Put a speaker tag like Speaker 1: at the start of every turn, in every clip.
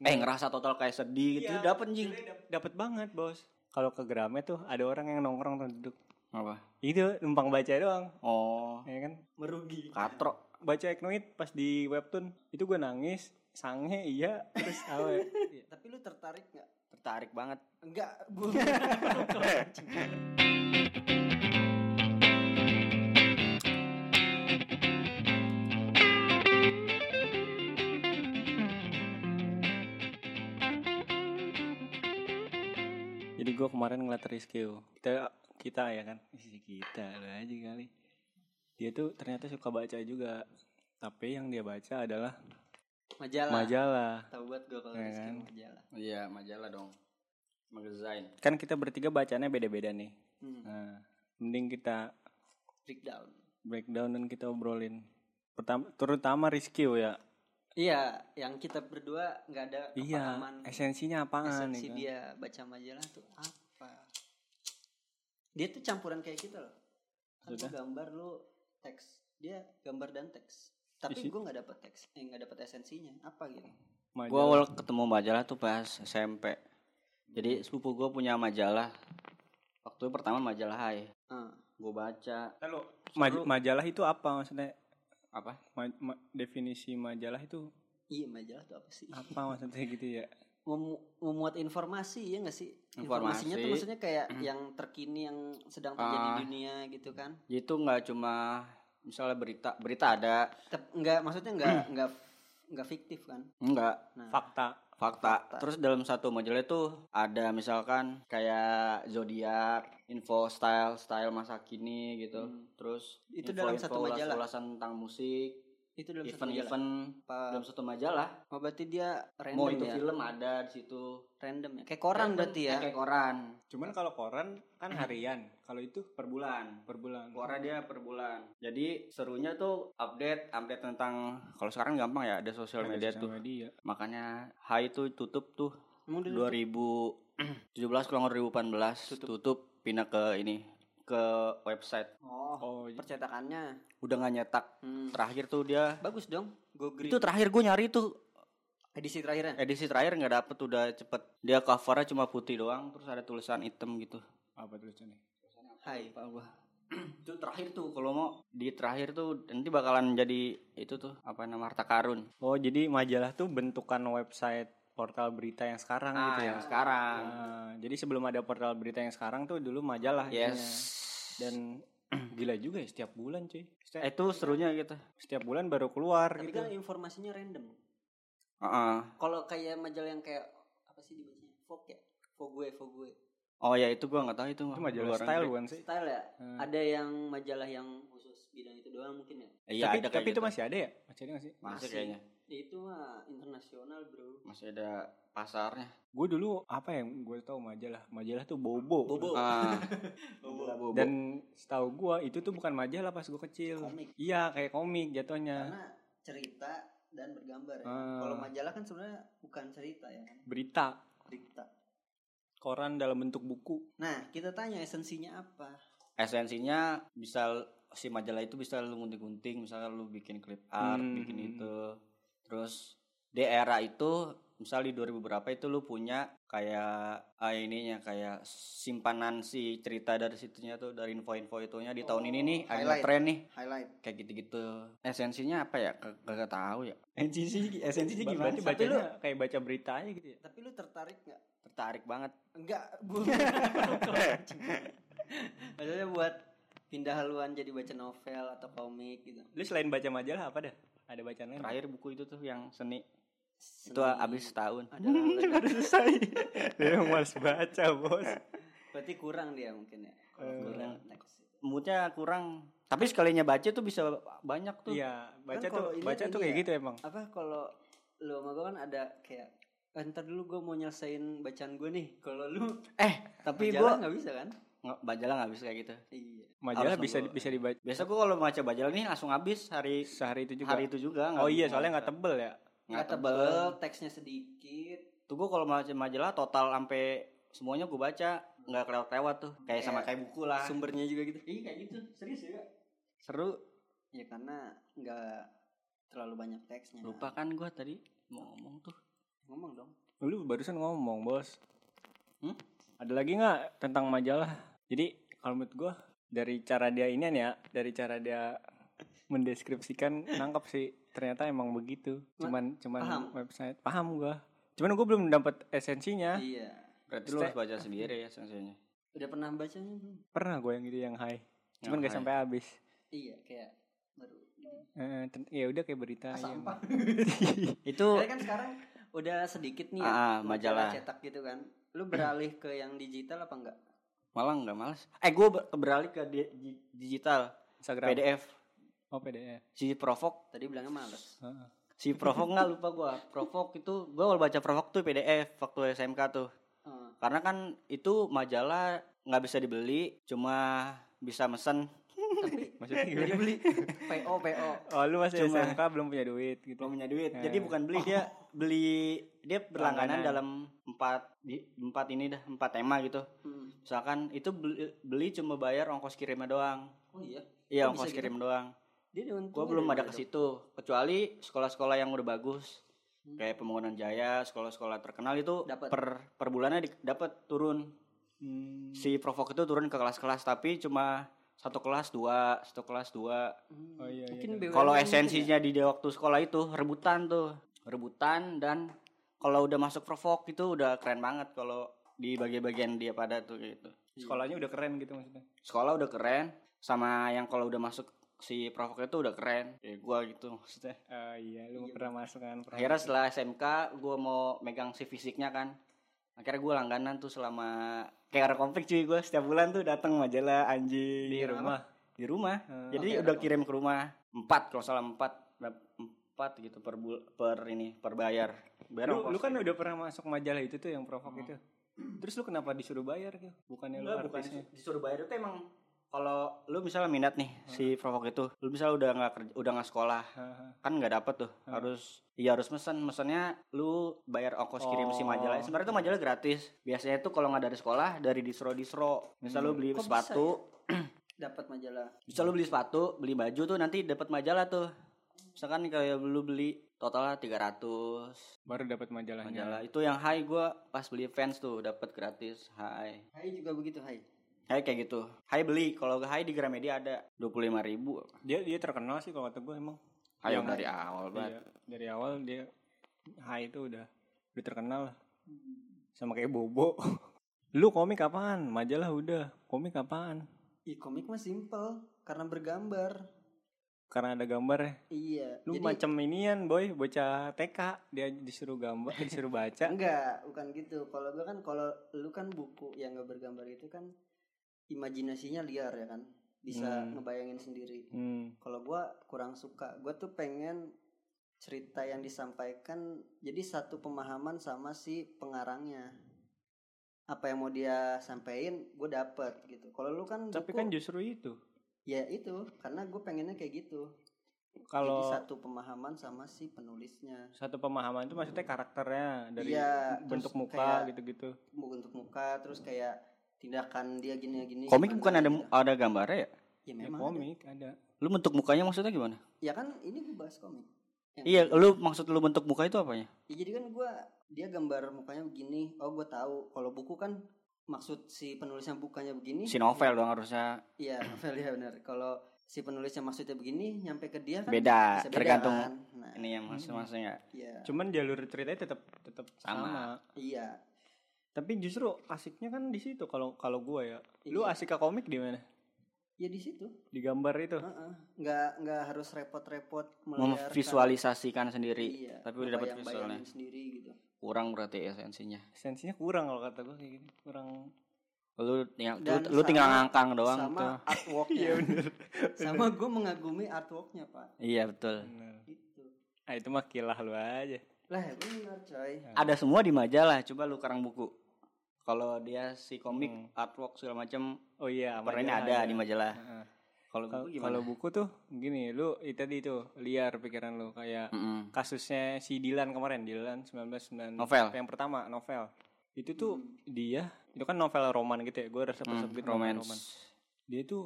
Speaker 1: eh
Speaker 2: Iya.
Speaker 1: ngerasa total kayak sedih gitu dapet anjing
Speaker 3: Dapat banget bos. Kalau ke Gramet tuh ada orang yang nongkrong tuh duduk.
Speaker 1: apa
Speaker 3: Itu numpang baca doang,
Speaker 1: oh
Speaker 3: ya kan?
Speaker 2: merugi
Speaker 1: katro
Speaker 3: Baca Eknoid pas di webtoon itu gue nangis, sange iya, terus awe.
Speaker 2: tapi lu tertarik nggak
Speaker 1: tertarik banget
Speaker 2: enggak gua
Speaker 3: Jadi gue kemarin ngeliat Rizky tuh. kita kita ya kan, Ih, kita lu aja kali. Dia tuh ternyata suka baca juga, tapi yang dia baca adalah
Speaker 2: majalah
Speaker 3: majalah.
Speaker 2: tahu buat gue kalau
Speaker 3: Ya
Speaker 2: Rizky
Speaker 3: kan?
Speaker 2: majalah
Speaker 1: iya majalah dong magazine
Speaker 3: Kan kita bertiga bacanya beda-beda nih.
Speaker 2: hmm.
Speaker 3: Nah, mending kita
Speaker 2: breakdown
Speaker 3: breakdown dan kita obrolin. Pertama, terutama Rizky ya.
Speaker 2: iya yang kita berdua nggak ada
Speaker 3: Iya,
Speaker 2: kepahaman
Speaker 3: esensinya apaan
Speaker 2: esensi
Speaker 3: nih kan?
Speaker 2: dia baca majalah tuh apa dia tuh campuran kayak kita loh kan gua
Speaker 3: Sudah.
Speaker 2: gambar lu teks dia gambar dan teks tapi
Speaker 3: Isi-
Speaker 2: gue nggak dapet teks eh nggak dapet esensinya apa gitu
Speaker 1: Gue awal ketemu majalah tuh pas SMP.
Speaker 2: Hmm.
Speaker 1: Jadi sepupu gue punya majalah. Waktu itu pertama majalah Hai.
Speaker 2: Ah.
Speaker 1: Gue baca
Speaker 3: Maj- majalah itu apa maksudnya?
Speaker 1: apa?
Speaker 3: Ma- ma- definisi majalah itu
Speaker 2: iya majalah tuh apa sih
Speaker 3: apa maksudnya gitu ya?
Speaker 2: Memu- memuat informasi ya nggak sih
Speaker 1: Informasi.
Speaker 2: informasinya tuh maksudnya kayak yang terkini yang sedang terjadi
Speaker 1: Ah.
Speaker 2: di dunia gitu kan
Speaker 1: Jadi itu nggak cuma misalnya berita, berita ada,
Speaker 2: Tep- nggak maksudnya
Speaker 1: Mm.
Speaker 2: nggak nggak nggak fiktif kan
Speaker 1: nggak
Speaker 2: nah
Speaker 3: Fakta.
Speaker 1: fakta.
Speaker 2: Fakta.
Speaker 1: Terus dalam satu majalah itu ada misalkan kayak zodiak, info style, style masa kini gitu.
Speaker 2: Hmm.
Speaker 1: Terus
Speaker 2: Itu dalam satu
Speaker 1: info-info
Speaker 2: majalah?
Speaker 1: Ulasan tentang musik,
Speaker 2: itu dalam satu majalah.
Speaker 1: event-event
Speaker 2: Apa-
Speaker 1: dalam satu majalah.
Speaker 2: Oh, berarti dia
Speaker 1: Mau
Speaker 2: random
Speaker 1: itu
Speaker 2: ya?
Speaker 1: film ada di situ.
Speaker 2: Random ya? Kayak koran berarti ya?
Speaker 1: Kayak koran
Speaker 3: Cuman kalau koran kan harian, kalau itu
Speaker 1: per bulan.
Speaker 3: per bulan.
Speaker 1: Keluarnya dia per bulan. Jadi serunya tuh update update tentang kalau sekarang gampang ya ada sosial
Speaker 3: Ada
Speaker 1: media
Speaker 3: sosial
Speaker 1: tuh.
Speaker 3: media.
Speaker 1: Makanya Hai tuh tutup tuh
Speaker 2: Emang dia
Speaker 1: 2017 kalau nggak 2018 tutup. pindah ke ini ke website.
Speaker 2: Oh,
Speaker 3: Oh, iya.
Speaker 2: percetakannya.
Speaker 1: Udah nggak nyetak.
Speaker 2: Hmm.
Speaker 1: Terakhir tuh dia
Speaker 2: Bagus dong. Go green.
Speaker 1: itu terakhir gue nyari tuh
Speaker 2: edisi terakhirnya.
Speaker 1: edisi terakhir nggak dapet udah cepet dia covernya cuma putih doang terus ada tulisan hitam gitu
Speaker 3: apa tulisannya?
Speaker 2: Hai.
Speaker 1: Lupa gua. itu terakhir tuh kalau mau di terakhir tuh nanti bakalan jadi itu tuh apa nama harta karun
Speaker 3: Oh, jadi majalah tuh bentukan website portal berita yang sekarang
Speaker 1: ah,
Speaker 3: gitu ya.
Speaker 1: yang sekarang
Speaker 3: Ah, jadi sebelum ada portal berita yang sekarang tuh dulu majalah
Speaker 1: yes
Speaker 3: isinya. Dan gila juga ya setiap bulan cuy. Setiap,
Speaker 1: Eh, itu serunya gitu
Speaker 3: setiap bulan baru keluar
Speaker 2: Tapi
Speaker 3: gitu.
Speaker 2: kan informasinya random.
Speaker 1: Heeh.
Speaker 2: Kalau kayak majalah yang kayak apa sih dibacanya? Vogue ya? Vogue, Vogue.
Speaker 1: oh ya itu gua nggak tahu itu
Speaker 3: Itu majalah
Speaker 1: Luar
Speaker 3: style
Speaker 1: negeri.
Speaker 3: bukan sih?
Speaker 2: Style ya?
Speaker 3: Hmm.
Speaker 2: ada yang majalah yang khusus bidang itu doang mungkin ya?
Speaker 1: iya
Speaker 3: tapi
Speaker 1: ada kayak
Speaker 3: tapi itu
Speaker 1: gitu.
Speaker 3: masih ada ya? Masih ada gak sih?
Speaker 1: masih
Speaker 2: Masih.
Speaker 1: kayaknya
Speaker 2: Ya Itu mah internasional, Bro.
Speaker 1: masih ada pasarnya
Speaker 3: Gue dulu apa yang gue tahu majalah? Majalah tuh Bobo.
Speaker 2: Bobo.
Speaker 1: Ah, dan
Speaker 3: Dan setahu gue itu tuh bukan majalah pas gue kecil.
Speaker 2: Komik.
Speaker 3: Iya kayak komik jatuhnya.
Speaker 2: Karena cerita dan bergambar ya.
Speaker 3: Ah.
Speaker 2: Kalau majalah kan sebenarnya bukan cerita ya kan,
Speaker 3: Berita,
Speaker 2: berita.
Speaker 3: koran dalam bentuk buku.
Speaker 2: Nah, kita tanya esensinya apa?
Speaker 1: esensinya bisa si majalah itu bisa lu gunting-gunting misalnya lu bikin clip art
Speaker 3: Hmm.
Speaker 1: bikin itu terus di era itu misal di 2000 berapa itu lu punya kayak ah, ininya kayak simpanan si cerita dari situnya tuh dari info-info itunya di tahun
Speaker 2: Oh,
Speaker 1: ini nih ada
Speaker 2: highlight.
Speaker 1: tren nih
Speaker 2: Highlight.
Speaker 1: kayak gitu-gitu esensinya apa ya Kag- kagak tahu ya
Speaker 3: Esensi esensinya
Speaker 1: Ba-
Speaker 3: gimana?
Speaker 1: berarti
Speaker 3: bacanya kayak baca berita aja gitu ya.
Speaker 2: Tapi lu tertarik nggak?
Speaker 1: tertarik banget
Speaker 2: Enggak, bu. Maksudnya buat pindah haluan jadi baca novel atau komik gitu.
Speaker 3: Lu selain baca majalah apa dah? Ada bacaan lain?
Speaker 1: terakhir buku itu tuh yang seni, itu
Speaker 2: Seni
Speaker 1: habis setahun
Speaker 2: adalah legend.
Speaker 3: selesai. Dia yang males baca, Bos.
Speaker 2: Berarti kurang dia mungkin ya. Kalau
Speaker 3: Eh,
Speaker 2: kurang
Speaker 1: kurang.
Speaker 2: teks.
Speaker 1: moodnya kurang tapi sekalinya baca tuh bisa banyak tuh
Speaker 3: Iya, baca
Speaker 2: Kan
Speaker 3: tuh
Speaker 2: kalau ini-
Speaker 3: baca tuh
Speaker 2: ini
Speaker 1: iya.
Speaker 3: kayak
Speaker 2: ya.
Speaker 3: gitu emang.
Speaker 2: Apa kalau lu sama gue kan ada kayak "Eh, ntar dulu gue mau nyelesain bacaan gue nih kalau lu
Speaker 1: eh tapi
Speaker 2: majalah
Speaker 1: gua
Speaker 2: nggak bisa kan
Speaker 1: nggak majalah nggak habis kayak gitu
Speaker 2: iya
Speaker 3: Majalah
Speaker 1: Harus
Speaker 3: bisa
Speaker 1: nunggu.
Speaker 3: bisa dibaca
Speaker 1: biasa gua kalau baca majalah nih langsung habis hari
Speaker 3: sehari itu juga.
Speaker 1: hari itu juga nggak-
Speaker 3: oh iya, soalnya nggak tebel ya.
Speaker 1: nggak
Speaker 2: nggak
Speaker 1: tebel
Speaker 2: tebel teksnya sedikit
Speaker 1: tuh gua kalau baca majalah total sampai semuanya gua baca nggak kelewat lewat tuh kayak
Speaker 3: Iya.
Speaker 1: sama kayak buku lah
Speaker 2: sumbernya juga gitu
Speaker 1: iya kayak gitu serius ya seru
Speaker 2: ya karena nggak terlalu banyak teksnya
Speaker 1: lupa kan gua tadi mau ngomong tuh
Speaker 2: Ngomong dong.
Speaker 3: Lu barusan ngomong, Bos.
Speaker 1: Hmm?
Speaker 3: Ada lagi nggak tentang majalah? Jadi, kalau menurut gua dari cara dia ini ya, dari cara dia mendeskripsikan nangkep sih. Ternyata emang begitu. Cuman cuman
Speaker 2: Paham.
Speaker 3: website. Paham gua. Cuman gua belum dapat esensinya.
Speaker 2: Iya.
Speaker 1: Berarti lu harus baca sendiri ya sensenya.
Speaker 2: Udah pernah bacanya belum?
Speaker 3: Pernah gua yang gitu yang high. Cuman
Speaker 1: Yang
Speaker 3: nggak
Speaker 1: high.
Speaker 3: sampai habis.
Speaker 2: Iya, kayak baru.
Speaker 3: Eh, ten- ya udah kayak berita
Speaker 2: Ah,
Speaker 3: aja.
Speaker 2: sampah.
Speaker 1: Itu
Speaker 2: Karena kan sekarang udah sedikit nih ya
Speaker 1: Ah, majalah.
Speaker 2: cetak gitu kan. Lu beralih ke yang digital apa enggak?
Speaker 1: malah nggak males. Eh gue beralih ke di- di- digital
Speaker 3: Instagram.
Speaker 1: PDF.
Speaker 3: Oh, PDF.
Speaker 1: Si provok
Speaker 2: Tadi bilangnya males.
Speaker 3: Heeh.
Speaker 1: si provok nggak lupa gua provok itu gua awal baca provok tuh PDF waktu SMK tuh
Speaker 2: Eh,
Speaker 1: karena kan itu majalah nggak bisa dibeli cuma bisa mesen
Speaker 3: Maksudnya
Speaker 2: Udah
Speaker 3: gimana?
Speaker 2: dibeli PO PO.
Speaker 3: Oh, lu masih
Speaker 1: Cuma-
Speaker 3: SMK belum punya duit gitu.
Speaker 1: belum punya duit jadi
Speaker 3: Eh.
Speaker 1: bukan beli dia beli dia berlangganan
Speaker 3: Langganan.
Speaker 1: dalam empat di- empat ini dah empat tema gitu
Speaker 2: Hmm.
Speaker 1: misalkan itu beli, beli cuma bayar ongkos kirimnya doang
Speaker 2: Oh iya.
Speaker 1: iya
Speaker 2: Kok bisa
Speaker 1: ongkos
Speaker 2: gitu?
Speaker 1: kirim doang
Speaker 2: Dia dengan
Speaker 1: gua belum ada ke
Speaker 2: gitu?
Speaker 1: situ kecuali sekolah-sekolah yang udah bagus
Speaker 2: Hmm.
Speaker 1: kayak pembangunan jaya sekolah-sekolah terkenal itu
Speaker 2: Dapat.
Speaker 1: per per bulannya di- dapat turun
Speaker 3: Hmm.
Speaker 1: si provok itu turun ke kelas-kelas tapi cuma satu kelas dua satu kelas dua
Speaker 2: Hmm.
Speaker 3: Oh, iya, iya, iya.
Speaker 2: kan?
Speaker 1: kalau esensinya di dia waktu sekolah itu rebutan tuh rebutan dan kalau udah masuk provok itu udah keren banget kalau di bagian-bagian dia pada tuh gitu
Speaker 3: Sekolahnya udah keren gitu maksudnya.
Speaker 1: sekolah udah keren sama yang kalau udah masuk si provok itu udah keren kayak gua gitu maksudnya
Speaker 3: Oh iya, lu pernah masuk kan? pernah
Speaker 1: akhirnya
Speaker 3: masuk.
Speaker 1: setelah SMK gue mau megang si fisiknya kan akhirnya gue langganan tuh selama kayak ada konflik cuy gue setiap bulan tuh datang majalah anjing
Speaker 3: di rumah.
Speaker 1: di rumah
Speaker 3: Eh,
Speaker 1: jadi
Speaker 2: oke,
Speaker 1: udah
Speaker 2: ada
Speaker 1: kirim ke rumah empat kalau salah empat Berap- empat gitu per bul- per ini per bayar bayar
Speaker 3: lu,
Speaker 1: ongkos.
Speaker 3: lu kan udah pernah masuk majalah itu tuh yang provok
Speaker 1: Hmm.
Speaker 3: itu. Terus lu kenapa disuruh bayar gitu? Bukannya lu
Speaker 1: Enggak, bukan
Speaker 3: artisnya.
Speaker 1: disuruh bayar itu emang kalau lu misalnya minat nih si provok itu lu misalnya udah nggak kerja udah nggak sekolah
Speaker 3: Haha.
Speaker 1: kan nggak dapet tuh harus iya harus mesen mesennya lu bayar ongkos kirim si
Speaker 3: Oh.
Speaker 1: majalah sebenarnya tuh majalah gratis biasanya tuh kalau nggak dari sekolah dari distro distro misal lu beli
Speaker 2: Kok bisa
Speaker 1: sepatu
Speaker 2: dapat majalah.
Speaker 1: misal lu beli sepatu beli baju tuh nanti dapat majalah tuh misalkan kayak lu beli totalnya 300
Speaker 3: Baru dapat majalahnya.
Speaker 1: majalah itu yang high gua pas beli fans tuh dapat gratis high
Speaker 2: Hai juga begitu, Hai.
Speaker 1: high kayak gitu high beli kalau high di Gramedia ada 25.000 ribu
Speaker 3: Dia dia terkenal sih kalau kata gue emang.
Speaker 1: ayo
Speaker 3: Yang
Speaker 1: dari awal banget
Speaker 3: Iya, dari awal dia high itu udah udah terkenal lah. Sama kayak Bobo. lu komik apaan? Majalah udah. Komik apaan?
Speaker 2: Ih, komik mah simple karena bergambar.
Speaker 3: Karena ada gambarnya.
Speaker 2: Iya.
Speaker 3: Lu macam inian, boy, bocah TK. Dia disuruh gambar, disuruh
Speaker 1: ya?
Speaker 3: baca.
Speaker 2: Enggak, bukan gitu. Kalau gue kan kalau lu kan buku yang gak bergambar itu kan imajinasinya liar ya kan. Bisa
Speaker 3: Hmm.
Speaker 2: ngebayangin sendiri.
Speaker 3: Hmm.
Speaker 2: Kalau gua kurang suka. Gua tuh pengen cerita yang disampaikan jadi satu pemahaman sama si pengarangnya. Apa yang mau dia sampein gue dapet gitu. Kalau lu kan
Speaker 3: Tapi
Speaker 2: buku,
Speaker 3: kan justru itu.
Speaker 2: ya itu karena gue pengennya kayak gitu.
Speaker 3: Kalau
Speaker 2: Jadi satu pemahaman sama si penulisnya.
Speaker 3: satu pemahaman itu maksudnya karakternya dari
Speaker 2: Iya,
Speaker 3: bentuk
Speaker 2: terus
Speaker 3: muka
Speaker 2: kayak-
Speaker 3: gitu-gitu.
Speaker 2: bentuk muka terus kayak tindakan dia gini gini
Speaker 1: komik bukan ada ada gambarnya ya
Speaker 2: ya
Speaker 3: Ya,
Speaker 2: memang ada.
Speaker 3: komik ada.
Speaker 1: lu bentuk mukanya maksudnya gimana
Speaker 2: ya kan ini gue bahas komik Ya Yang-
Speaker 1: Iya, lu maksud lu bentuk muka itu apanya?
Speaker 2: ya, jadi kan gue dia gambar mukanya begini oh gue tahu kalau buku kan maksud si penulisnya bukannya begini
Speaker 1: Si novel dong harusnya
Speaker 2: iya novel ya benar kalau si penulisnya maksudnya begini nyampe ke dia kan
Speaker 1: beda,
Speaker 2: bisa beda
Speaker 1: tergantung
Speaker 2: kan? nah
Speaker 1: ini ya, yang maksud-maksudnya.
Speaker 2: iya
Speaker 3: Cuman jalur ceritanya tetap tetap sama.
Speaker 1: Sama.
Speaker 2: iya
Speaker 3: Tapi justru asiknya kan di situ kalau kalau gua ya. Lu
Speaker 2: Iya.
Speaker 3: asik ke komik di mana?
Speaker 2: ya di situ
Speaker 3: Di gambar itu.
Speaker 2: Heeh. nggak nggak harus repot-repot melihat
Speaker 1: Memvisualisasikan sendiri,
Speaker 2: iya,
Speaker 1: tapi udah dapat
Speaker 2: ngebayang-bayangin
Speaker 1: visualnya.
Speaker 2: sendiri gitu
Speaker 1: Kurang berarti esensinya.
Speaker 3: Esensinya kurang kalau kata gua kayak gini. Kurang
Speaker 1: Lu ya, lu,
Speaker 2: Dan
Speaker 1: lu tinggal
Speaker 2: sama-
Speaker 1: ngangkang doang
Speaker 2: sama
Speaker 1: tuh.
Speaker 2: artworknya sama gue mengagumi artworknya pak
Speaker 1: Iya, betul.
Speaker 3: bener.
Speaker 2: gitu
Speaker 3: Ah itu mah kilah lu aja.
Speaker 2: lah ya benar coy
Speaker 3: Iya.
Speaker 1: Ada semua di majalah, coba lu karang buku. Kalau dia si komik,
Speaker 2: Hmm.
Speaker 1: artwork segala macam,
Speaker 3: Oh iya,
Speaker 1: perannya
Speaker 3: majalah
Speaker 1: ada di majalah.
Speaker 3: Heeh.
Speaker 1: Kalau
Speaker 3: Kal-
Speaker 1: buku gimana?
Speaker 3: Kalau buku tuh gini, lu itu tadi tuh liar pikiran lu kayak
Speaker 1: Mm-mm.
Speaker 3: kasusnya si Dilan kemarin Dilan 1999
Speaker 1: Novel.
Speaker 3: yang pertama novel itu tuh dia itu kan novel roman gitu ya gue resep resep
Speaker 1: Hmm,
Speaker 3: gitu novel
Speaker 1: romance.
Speaker 3: roman dia tuh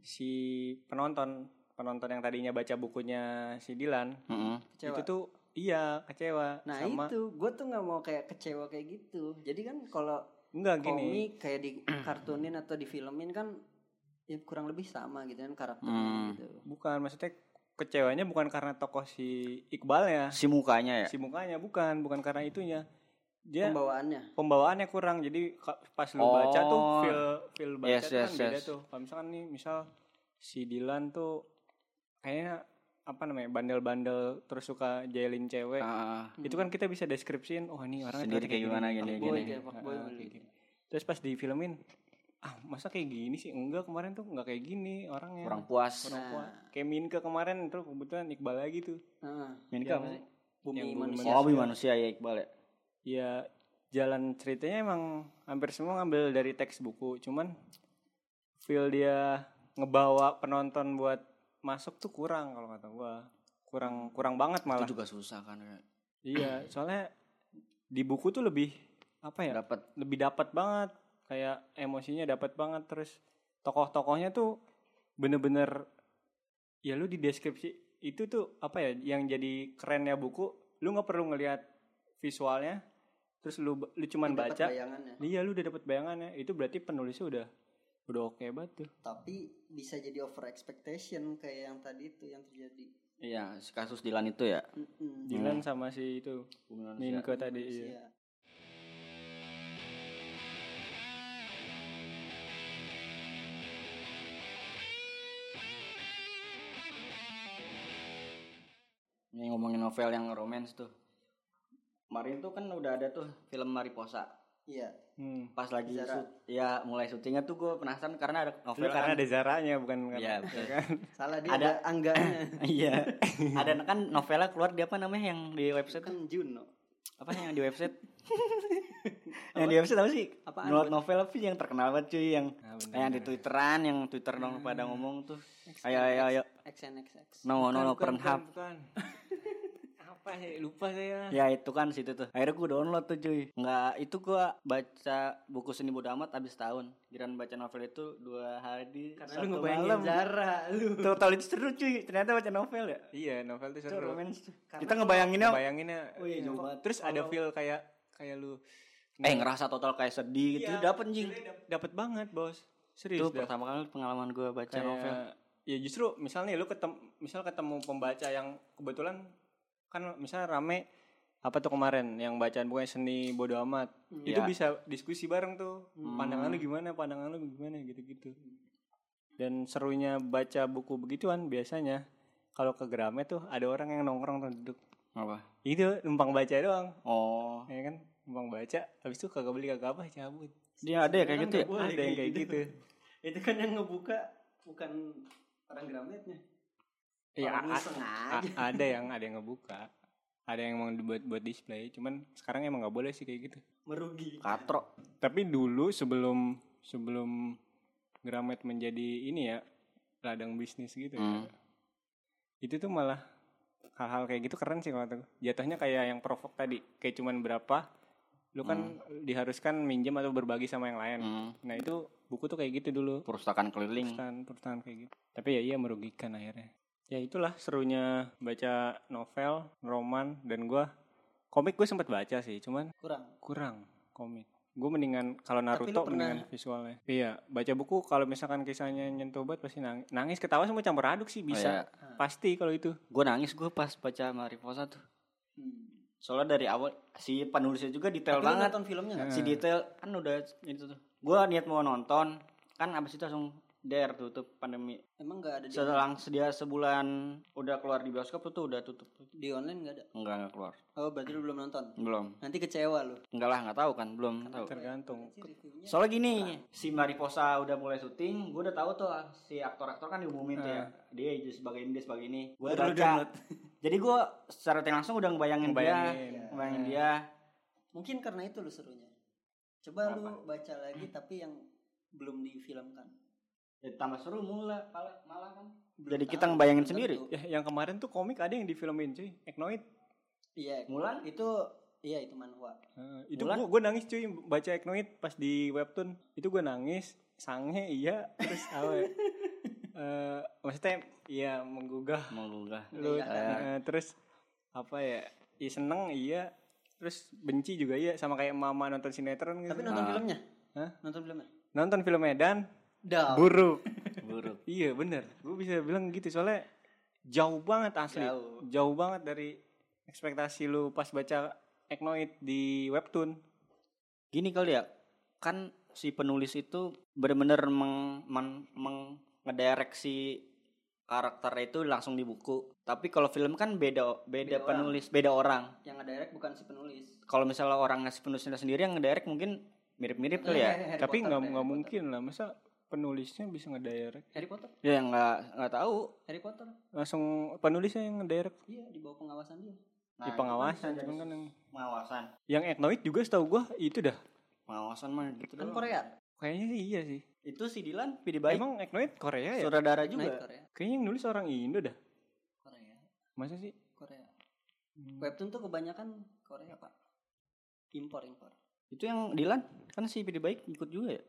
Speaker 3: si penonton penonton yang tadinya baca bukunya si Dilan
Speaker 1: Mm-mm.
Speaker 2: Kecewa.
Speaker 3: itu tuh iya kecewa
Speaker 2: Nah
Speaker 3: sama
Speaker 2: itu gue tuh nggak mau kayak kecewa kayak gitu. Jadi kan kalau
Speaker 3: enggak gini
Speaker 2: komik kayak di kartunin atau di filmin kan ya kurang lebih sama gitu kan karakternya
Speaker 1: Hmm.
Speaker 2: gitu.
Speaker 3: bukan maksudnya kecewanya bukan karena tokoh si Iqbalnya
Speaker 1: si mukanya ya
Speaker 3: si mukanya bukan bukan karena itunya dia
Speaker 2: Pembawaannya.
Speaker 3: pembawaannya kurang jadi ka- pas lu
Speaker 1: Oh.
Speaker 3: baca tuh feel feel baca
Speaker 1: Yes,
Speaker 3: tuh kan
Speaker 1: yes,
Speaker 3: beda
Speaker 1: yes.
Speaker 3: tuh kalau misalkan nih misal si Dilan tuh kayaknya apa namanya bandel-bandel terus suka jailin cewek
Speaker 1: Ah,
Speaker 3: itu kan kita bisa deskripsiin oh ini orang
Speaker 1: Sendiri kayak gimana, gini,
Speaker 2: Hmm.
Speaker 1: Ah,
Speaker 2: Fuckboy kayak fuckboy
Speaker 3: Heeh,
Speaker 2: gitu.
Speaker 3: kayak gini. terus pas difilmin ah masa kayak gini sih enggak kemarin tuh enggak kayak gini orangnya
Speaker 1: kurang puas
Speaker 3: Kurang
Speaker 2: Nah.
Speaker 3: puas. kayak Minke kemarin terus kebetulan Iqbal lagi tuh
Speaker 2: Heeh.
Speaker 1: Minka
Speaker 3: Yang
Speaker 1: apa sih?
Speaker 2: Bumi
Speaker 3: yang
Speaker 2: Manusia.
Speaker 1: oh bumi kan manusia ya Iqbal ya
Speaker 3: ya jalan ceritanya emang hampir semua ngambil dari teks buku cuman feel dia ngebawa penonton buat masuk tuh kurang kalau kata gua kurang kurang banget malah
Speaker 1: itu juga susah kan kayak
Speaker 3: iya soalnya di buku tuh lebih apa ya
Speaker 2: Iya.
Speaker 1: dapat
Speaker 3: lebih dapat banget kayak emosinya dapat banget terus tokoh-tokohnya tuh bener-bener ya lu di deskripsi itu tuh apa ya yang jadi kerennya buku lu nggak perlu ngelihat visualnya terus lu lu cuman
Speaker 2: Dapat
Speaker 3: baca
Speaker 2: bayangannya.
Speaker 3: iya lu udah dapet bayangannya itu berarti penulisnya udah udah oke banget tuh
Speaker 2: Tapi bisa jadi over expectation kayak yang tadi itu yang terjadi.
Speaker 1: iya si kasus Dilan itu ya
Speaker 2: Mm-mm.
Speaker 3: Dylan sama si itu
Speaker 1: bumi manusia
Speaker 3: Minko tadi iya.
Speaker 2: Manusia.
Speaker 1: Ini ngomongin novel yang romance tuh. Kemarin tuh kan udah ada tuh film Mariposa.
Speaker 2: Iya.
Speaker 3: hmm.
Speaker 1: Pas lagi
Speaker 2: Zara.
Speaker 1: shoot, ya mulai syutingnya tuh gue penasaran karena ada
Speaker 3: Itu
Speaker 1: novel
Speaker 3: karena
Speaker 1: kan.
Speaker 3: ada zaranya bukan karena
Speaker 1: Iya, betul.
Speaker 2: Salah dia
Speaker 1: Ada-
Speaker 2: ada angganya.
Speaker 1: Iya. ada kan novelnya keluar di apa namanya yang di website tuh?
Speaker 2: kan Juno.
Speaker 1: Apa yang di website? yang di website apa sih?
Speaker 2: Apaan?
Speaker 1: Nolak novel apa sih yang terkenal banget cuy yang
Speaker 3: Nah, bener.
Speaker 1: kayak yang di twitteran yang twitter dong pada ngomong tuh. Ayo ayo ayo.
Speaker 2: XNXX.
Speaker 1: No no no
Speaker 3: Bukan, bukan,
Speaker 1: Pornhub.
Speaker 3: bukan. apa ya lupa saya
Speaker 1: Ya itu kan situ tuh. Akhirnya gue download tuh cuy. Nggak itu gue baca buku seni bodoh amat abis tahun. Giran baca novel itu dua hari
Speaker 2: Karena lu
Speaker 1: satu
Speaker 2: ngebayangin
Speaker 1: malam.
Speaker 2: Zara lu.
Speaker 1: Total itu seru cuy. Ternyata baca novel ya.
Speaker 3: Iya novel tuh
Speaker 1: Itu
Speaker 3: seru.
Speaker 1: romance tuh.
Speaker 2: Karena
Speaker 1: Kita ngebayanginnya.
Speaker 3: Bayanginnya.
Speaker 1: Oh iya,
Speaker 3: iya.
Speaker 1: jauh banget.
Speaker 3: Terus ada
Speaker 1: Kalau-
Speaker 3: feel kayak kayak lu
Speaker 1: Eh ngerasa total kayak sedih gitu.
Speaker 3: Iya,
Speaker 1: Dapet jing.
Speaker 3: feel-nya dap- Dapet banget bos. Serius.
Speaker 1: Itu
Speaker 3: dah.
Speaker 1: pertama kali pengalaman gue baca
Speaker 3: Kayak-
Speaker 1: novel.
Speaker 3: Ya justru misalnya lu ketemu misal ketemu pembaca yang kebetulan kan misalnya rame apa tuh kemarin yang bacaan bukan seni bodo amat itu
Speaker 1: Iya.
Speaker 3: bisa diskusi bareng tuh
Speaker 1: Hmm.
Speaker 3: pandangan lu gimana pandangan lu gimana gitu-gitu dan serunya baca buku begituan biasanya kalau ke Gramet tuh ada orang yang nongkrong tuh duduk
Speaker 1: Apa?
Speaker 3: itu numpang baca doang
Speaker 1: Oh.
Speaker 3: ya kan numpang baca habis itu kagak beli kagak apa cabut
Speaker 1: Dia ada ya kayak
Speaker 2: Kan
Speaker 1: gitu ya?
Speaker 2: nggak boleh
Speaker 3: Ada yang kayak gitu.
Speaker 2: Itu kan yang ngebuka bukan orang grametnya.
Speaker 3: Iya,
Speaker 2: Orang
Speaker 3: a-
Speaker 2: iseng
Speaker 3: a-
Speaker 2: aja.
Speaker 3: ada yang ada yang ngebuka ada yang emang buat buat display cuman sekarang emang nggak boleh sih kayak gitu
Speaker 2: Merugi.
Speaker 1: Katro.
Speaker 3: tapi dulu sebelum sebelum Gramet menjadi ini ya ladang bisnis gitu ya,
Speaker 1: Hmm.
Speaker 3: itu tuh malah hal-hal kayak gitu keren sih kalau kata gua. jatuhnya kayak yang provok tadi kayak cuman berapa lu kan diharuskan minjem atau berbagi sama yang lain
Speaker 1: Hmm.
Speaker 3: nah itu buku tuh kayak gitu dulu
Speaker 1: Perpustakaan keliling.
Speaker 3: perusahaan perusahaan kayak gitu tapi ya iya merugikan akhirnya ya itulah serunya baca novel roman dan gua komik gue sempat baca sih cuman
Speaker 2: Kurang.
Speaker 3: kurang komik gue mendingan kalau Naruto
Speaker 2: Tapi lu pernah-
Speaker 3: mendingan visualnya iya baca buku kalau misalkan kisahnya nyentuh banget pasti nangis, nangis ketawa semua campur aduk sih bisa pasti kalau itu
Speaker 1: Gue Oh, iya. nangis gue pas baca Mariposa tuh.
Speaker 2: Hmm.
Speaker 1: Soalnya dari awal si penulisnya juga detail
Speaker 2: Tapi lu
Speaker 1: banget.
Speaker 2: nonton filmnya nggak?
Speaker 1: si detail kan udah itu tuh gua niat mau nonton kan abis itu langsung der tutup pandemi
Speaker 2: Emang nggak ada di,
Speaker 1: setelah dia sebulan udah keluar di bioskop tuh udah tutup
Speaker 2: di online nggak ada.
Speaker 1: enggak enggak keluar
Speaker 2: Oh, berarti lu belum nonton.
Speaker 1: belum
Speaker 2: Nanti kecewa lu.
Speaker 1: enggak lah nggak tahu kan belum tahu
Speaker 3: tergantung
Speaker 2: Si reviewnya
Speaker 1: soalnya gini si Mariposa udah mulai syuting gua udah tahu tuh ah, si aktor-aktor kan diumumin tuh ya dia jadi sebagai ini dia sebagai ini gua
Speaker 3: Baru lu
Speaker 1: baca
Speaker 3: download.
Speaker 1: jadi gua secara tidak langsung udah ngebayangin,
Speaker 3: Ngebayangin. Eh.
Speaker 1: dia ngebayangin dia
Speaker 2: Mungkin karena itu lu serunya. Coba lu
Speaker 1: Apa?
Speaker 2: baca lagi tapi yang belum difilmkan.
Speaker 1: jadi Ya, tambah seru mula pala- malah kan
Speaker 2: Belum
Speaker 1: Jadi kita
Speaker 2: tahu,
Speaker 1: ngebayangin
Speaker 2: belum
Speaker 1: sendiri.
Speaker 2: tentu.
Speaker 3: ya yang kemarin tuh komik ada yang difilmin cuy Eknoid
Speaker 2: Iya.
Speaker 1: Mulan?
Speaker 2: itu iya itu manhwa.
Speaker 3: Heeh, itu
Speaker 1: Mulan?
Speaker 3: gua gua nangis cuy baca Eknoid pas di webtoon itu gua nangis sange iya terus apa ya? Eh, maksudnya iya menggugah
Speaker 1: menggugah
Speaker 3: lu
Speaker 2: Iya.
Speaker 3: eh, terus apa ya iya seneng iya terus benci juga iya sama kayak mama nonton sinetron gitu
Speaker 2: Tapi nonton
Speaker 1: Ah.
Speaker 2: filmnya?
Speaker 3: Hah?
Speaker 2: Nonton filmnya?
Speaker 3: nonton film Medan
Speaker 2: Dah.
Speaker 3: buruk
Speaker 1: buruk
Speaker 3: iya bener gue bisa bilang gitu soalnya jauh banget asli
Speaker 2: Jauh.
Speaker 3: jauh, banget dari ekspektasi lu pas baca Eknoid di webtoon
Speaker 1: gini kali ya kan si penulis itu benar-benar meng, men- meng- ngedirect si karakternya itu langsung di buku tapi kalau film kan beda
Speaker 2: Beda
Speaker 1: beda,
Speaker 2: orang.
Speaker 1: penulis beda orang
Speaker 2: Yang ngedirect bukan si penulis.
Speaker 1: kalau misalnya orang ngasih penulisnya sendiri yang ngedirect mungkin mirip-mirip kali ya
Speaker 2: Iya, Harry
Speaker 3: tapi
Speaker 2: Potter
Speaker 3: nggak
Speaker 2: deh,
Speaker 3: nggak
Speaker 2: Harry
Speaker 3: mungkin lah masa penulisnya bisa ngedirect
Speaker 2: Potter. Harry Potter.
Speaker 1: ya nggak nggak tahu
Speaker 2: Harry Potter.
Speaker 3: langsung penulisnya yang ngedirect
Speaker 2: Iya, di bawah pengawasan dia. Kan
Speaker 3: di pengawasan cuman kan yang
Speaker 1: Nah, pengawasan
Speaker 3: yang Eknoid juga setahu gua itu dah
Speaker 1: pengawasan mah gitu
Speaker 2: Kan
Speaker 1: doang.
Speaker 2: Korea.
Speaker 3: kayaknya sih iya sih
Speaker 1: itu si Dilan pilih baik
Speaker 3: emang Eknoid Korea ya
Speaker 1: sutradara
Speaker 2: Naik
Speaker 1: juga
Speaker 2: Korea.
Speaker 3: kayaknya yang nulis orang Indo dah
Speaker 2: Korea.
Speaker 3: masa sih
Speaker 2: Korea. Webtoon tuh kebanyakan Korea, Pak. Impor, impor.
Speaker 1: itu yang Dilan kan si pilih baik ikut juga ya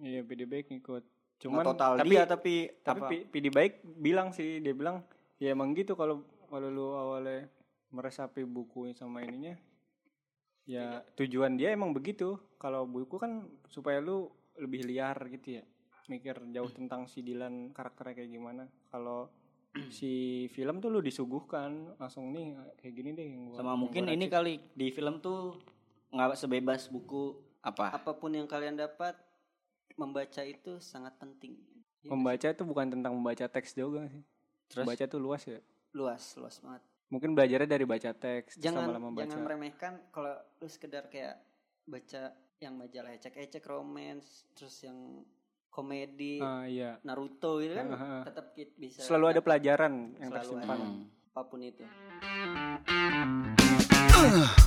Speaker 3: iya PD Baik ngikut
Speaker 1: Nggak
Speaker 3: cuman
Speaker 1: total
Speaker 3: tapi
Speaker 1: dia tapi
Speaker 3: tapi
Speaker 1: apa?
Speaker 3: P- PD Baik bilang sih dia bilang ya emang gitu kalau kalau lu awalnya meresapi buku sama ininya ya
Speaker 1: Iya.
Speaker 3: tujuan dia emang begitu kalau buku kan supaya lu lebih liar gitu ya mikir jauh
Speaker 1: Hmm.
Speaker 3: tentang si Dilan karakternya kayak gimana kalau si film tuh lu disuguhkan langsung nih kayak gini deh yang gua-
Speaker 1: sama
Speaker 3: yang
Speaker 1: mungkin
Speaker 3: gua
Speaker 1: ini
Speaker 3: racik."
Speaker 1: kali di film tuh nggak sebebas buku apa
Speaker 2: Apapun yang kalian dapat membaca itu sangat penting. Iya nggak sih?
Speaker 3: membaca itu bukan tentang membaca teks juga sih
Speaker 1: ya. terus
Speaker 3: baca tuh luas ya
Speaker 2: luas, luas banget.
Speaker 3: mungkin belajarnya dari baca teks terus
Speaker 2: Jangan
Speaker 3: lama-lama
Speaker 2: jangan
Speaker 3: baca.
Speaker 2: meremehkan kalau lu sekedar kayak baca yang majalah ecek-ecek romance, terus yang komedi,
Speaker 3: Ah, iya
Speaker 2: Naruto gitu kan
Speaker 3: Ah, ah, ah.
Speaker 2: tetap ki- bisa
Speaker 3: selalu ada pelajaran yang
Speaker 2: Selalu
Speaker 3: tersimpan.
Speaker 2: ada.
Speaker 1: Hmm.
Speaker 2: apapun itu.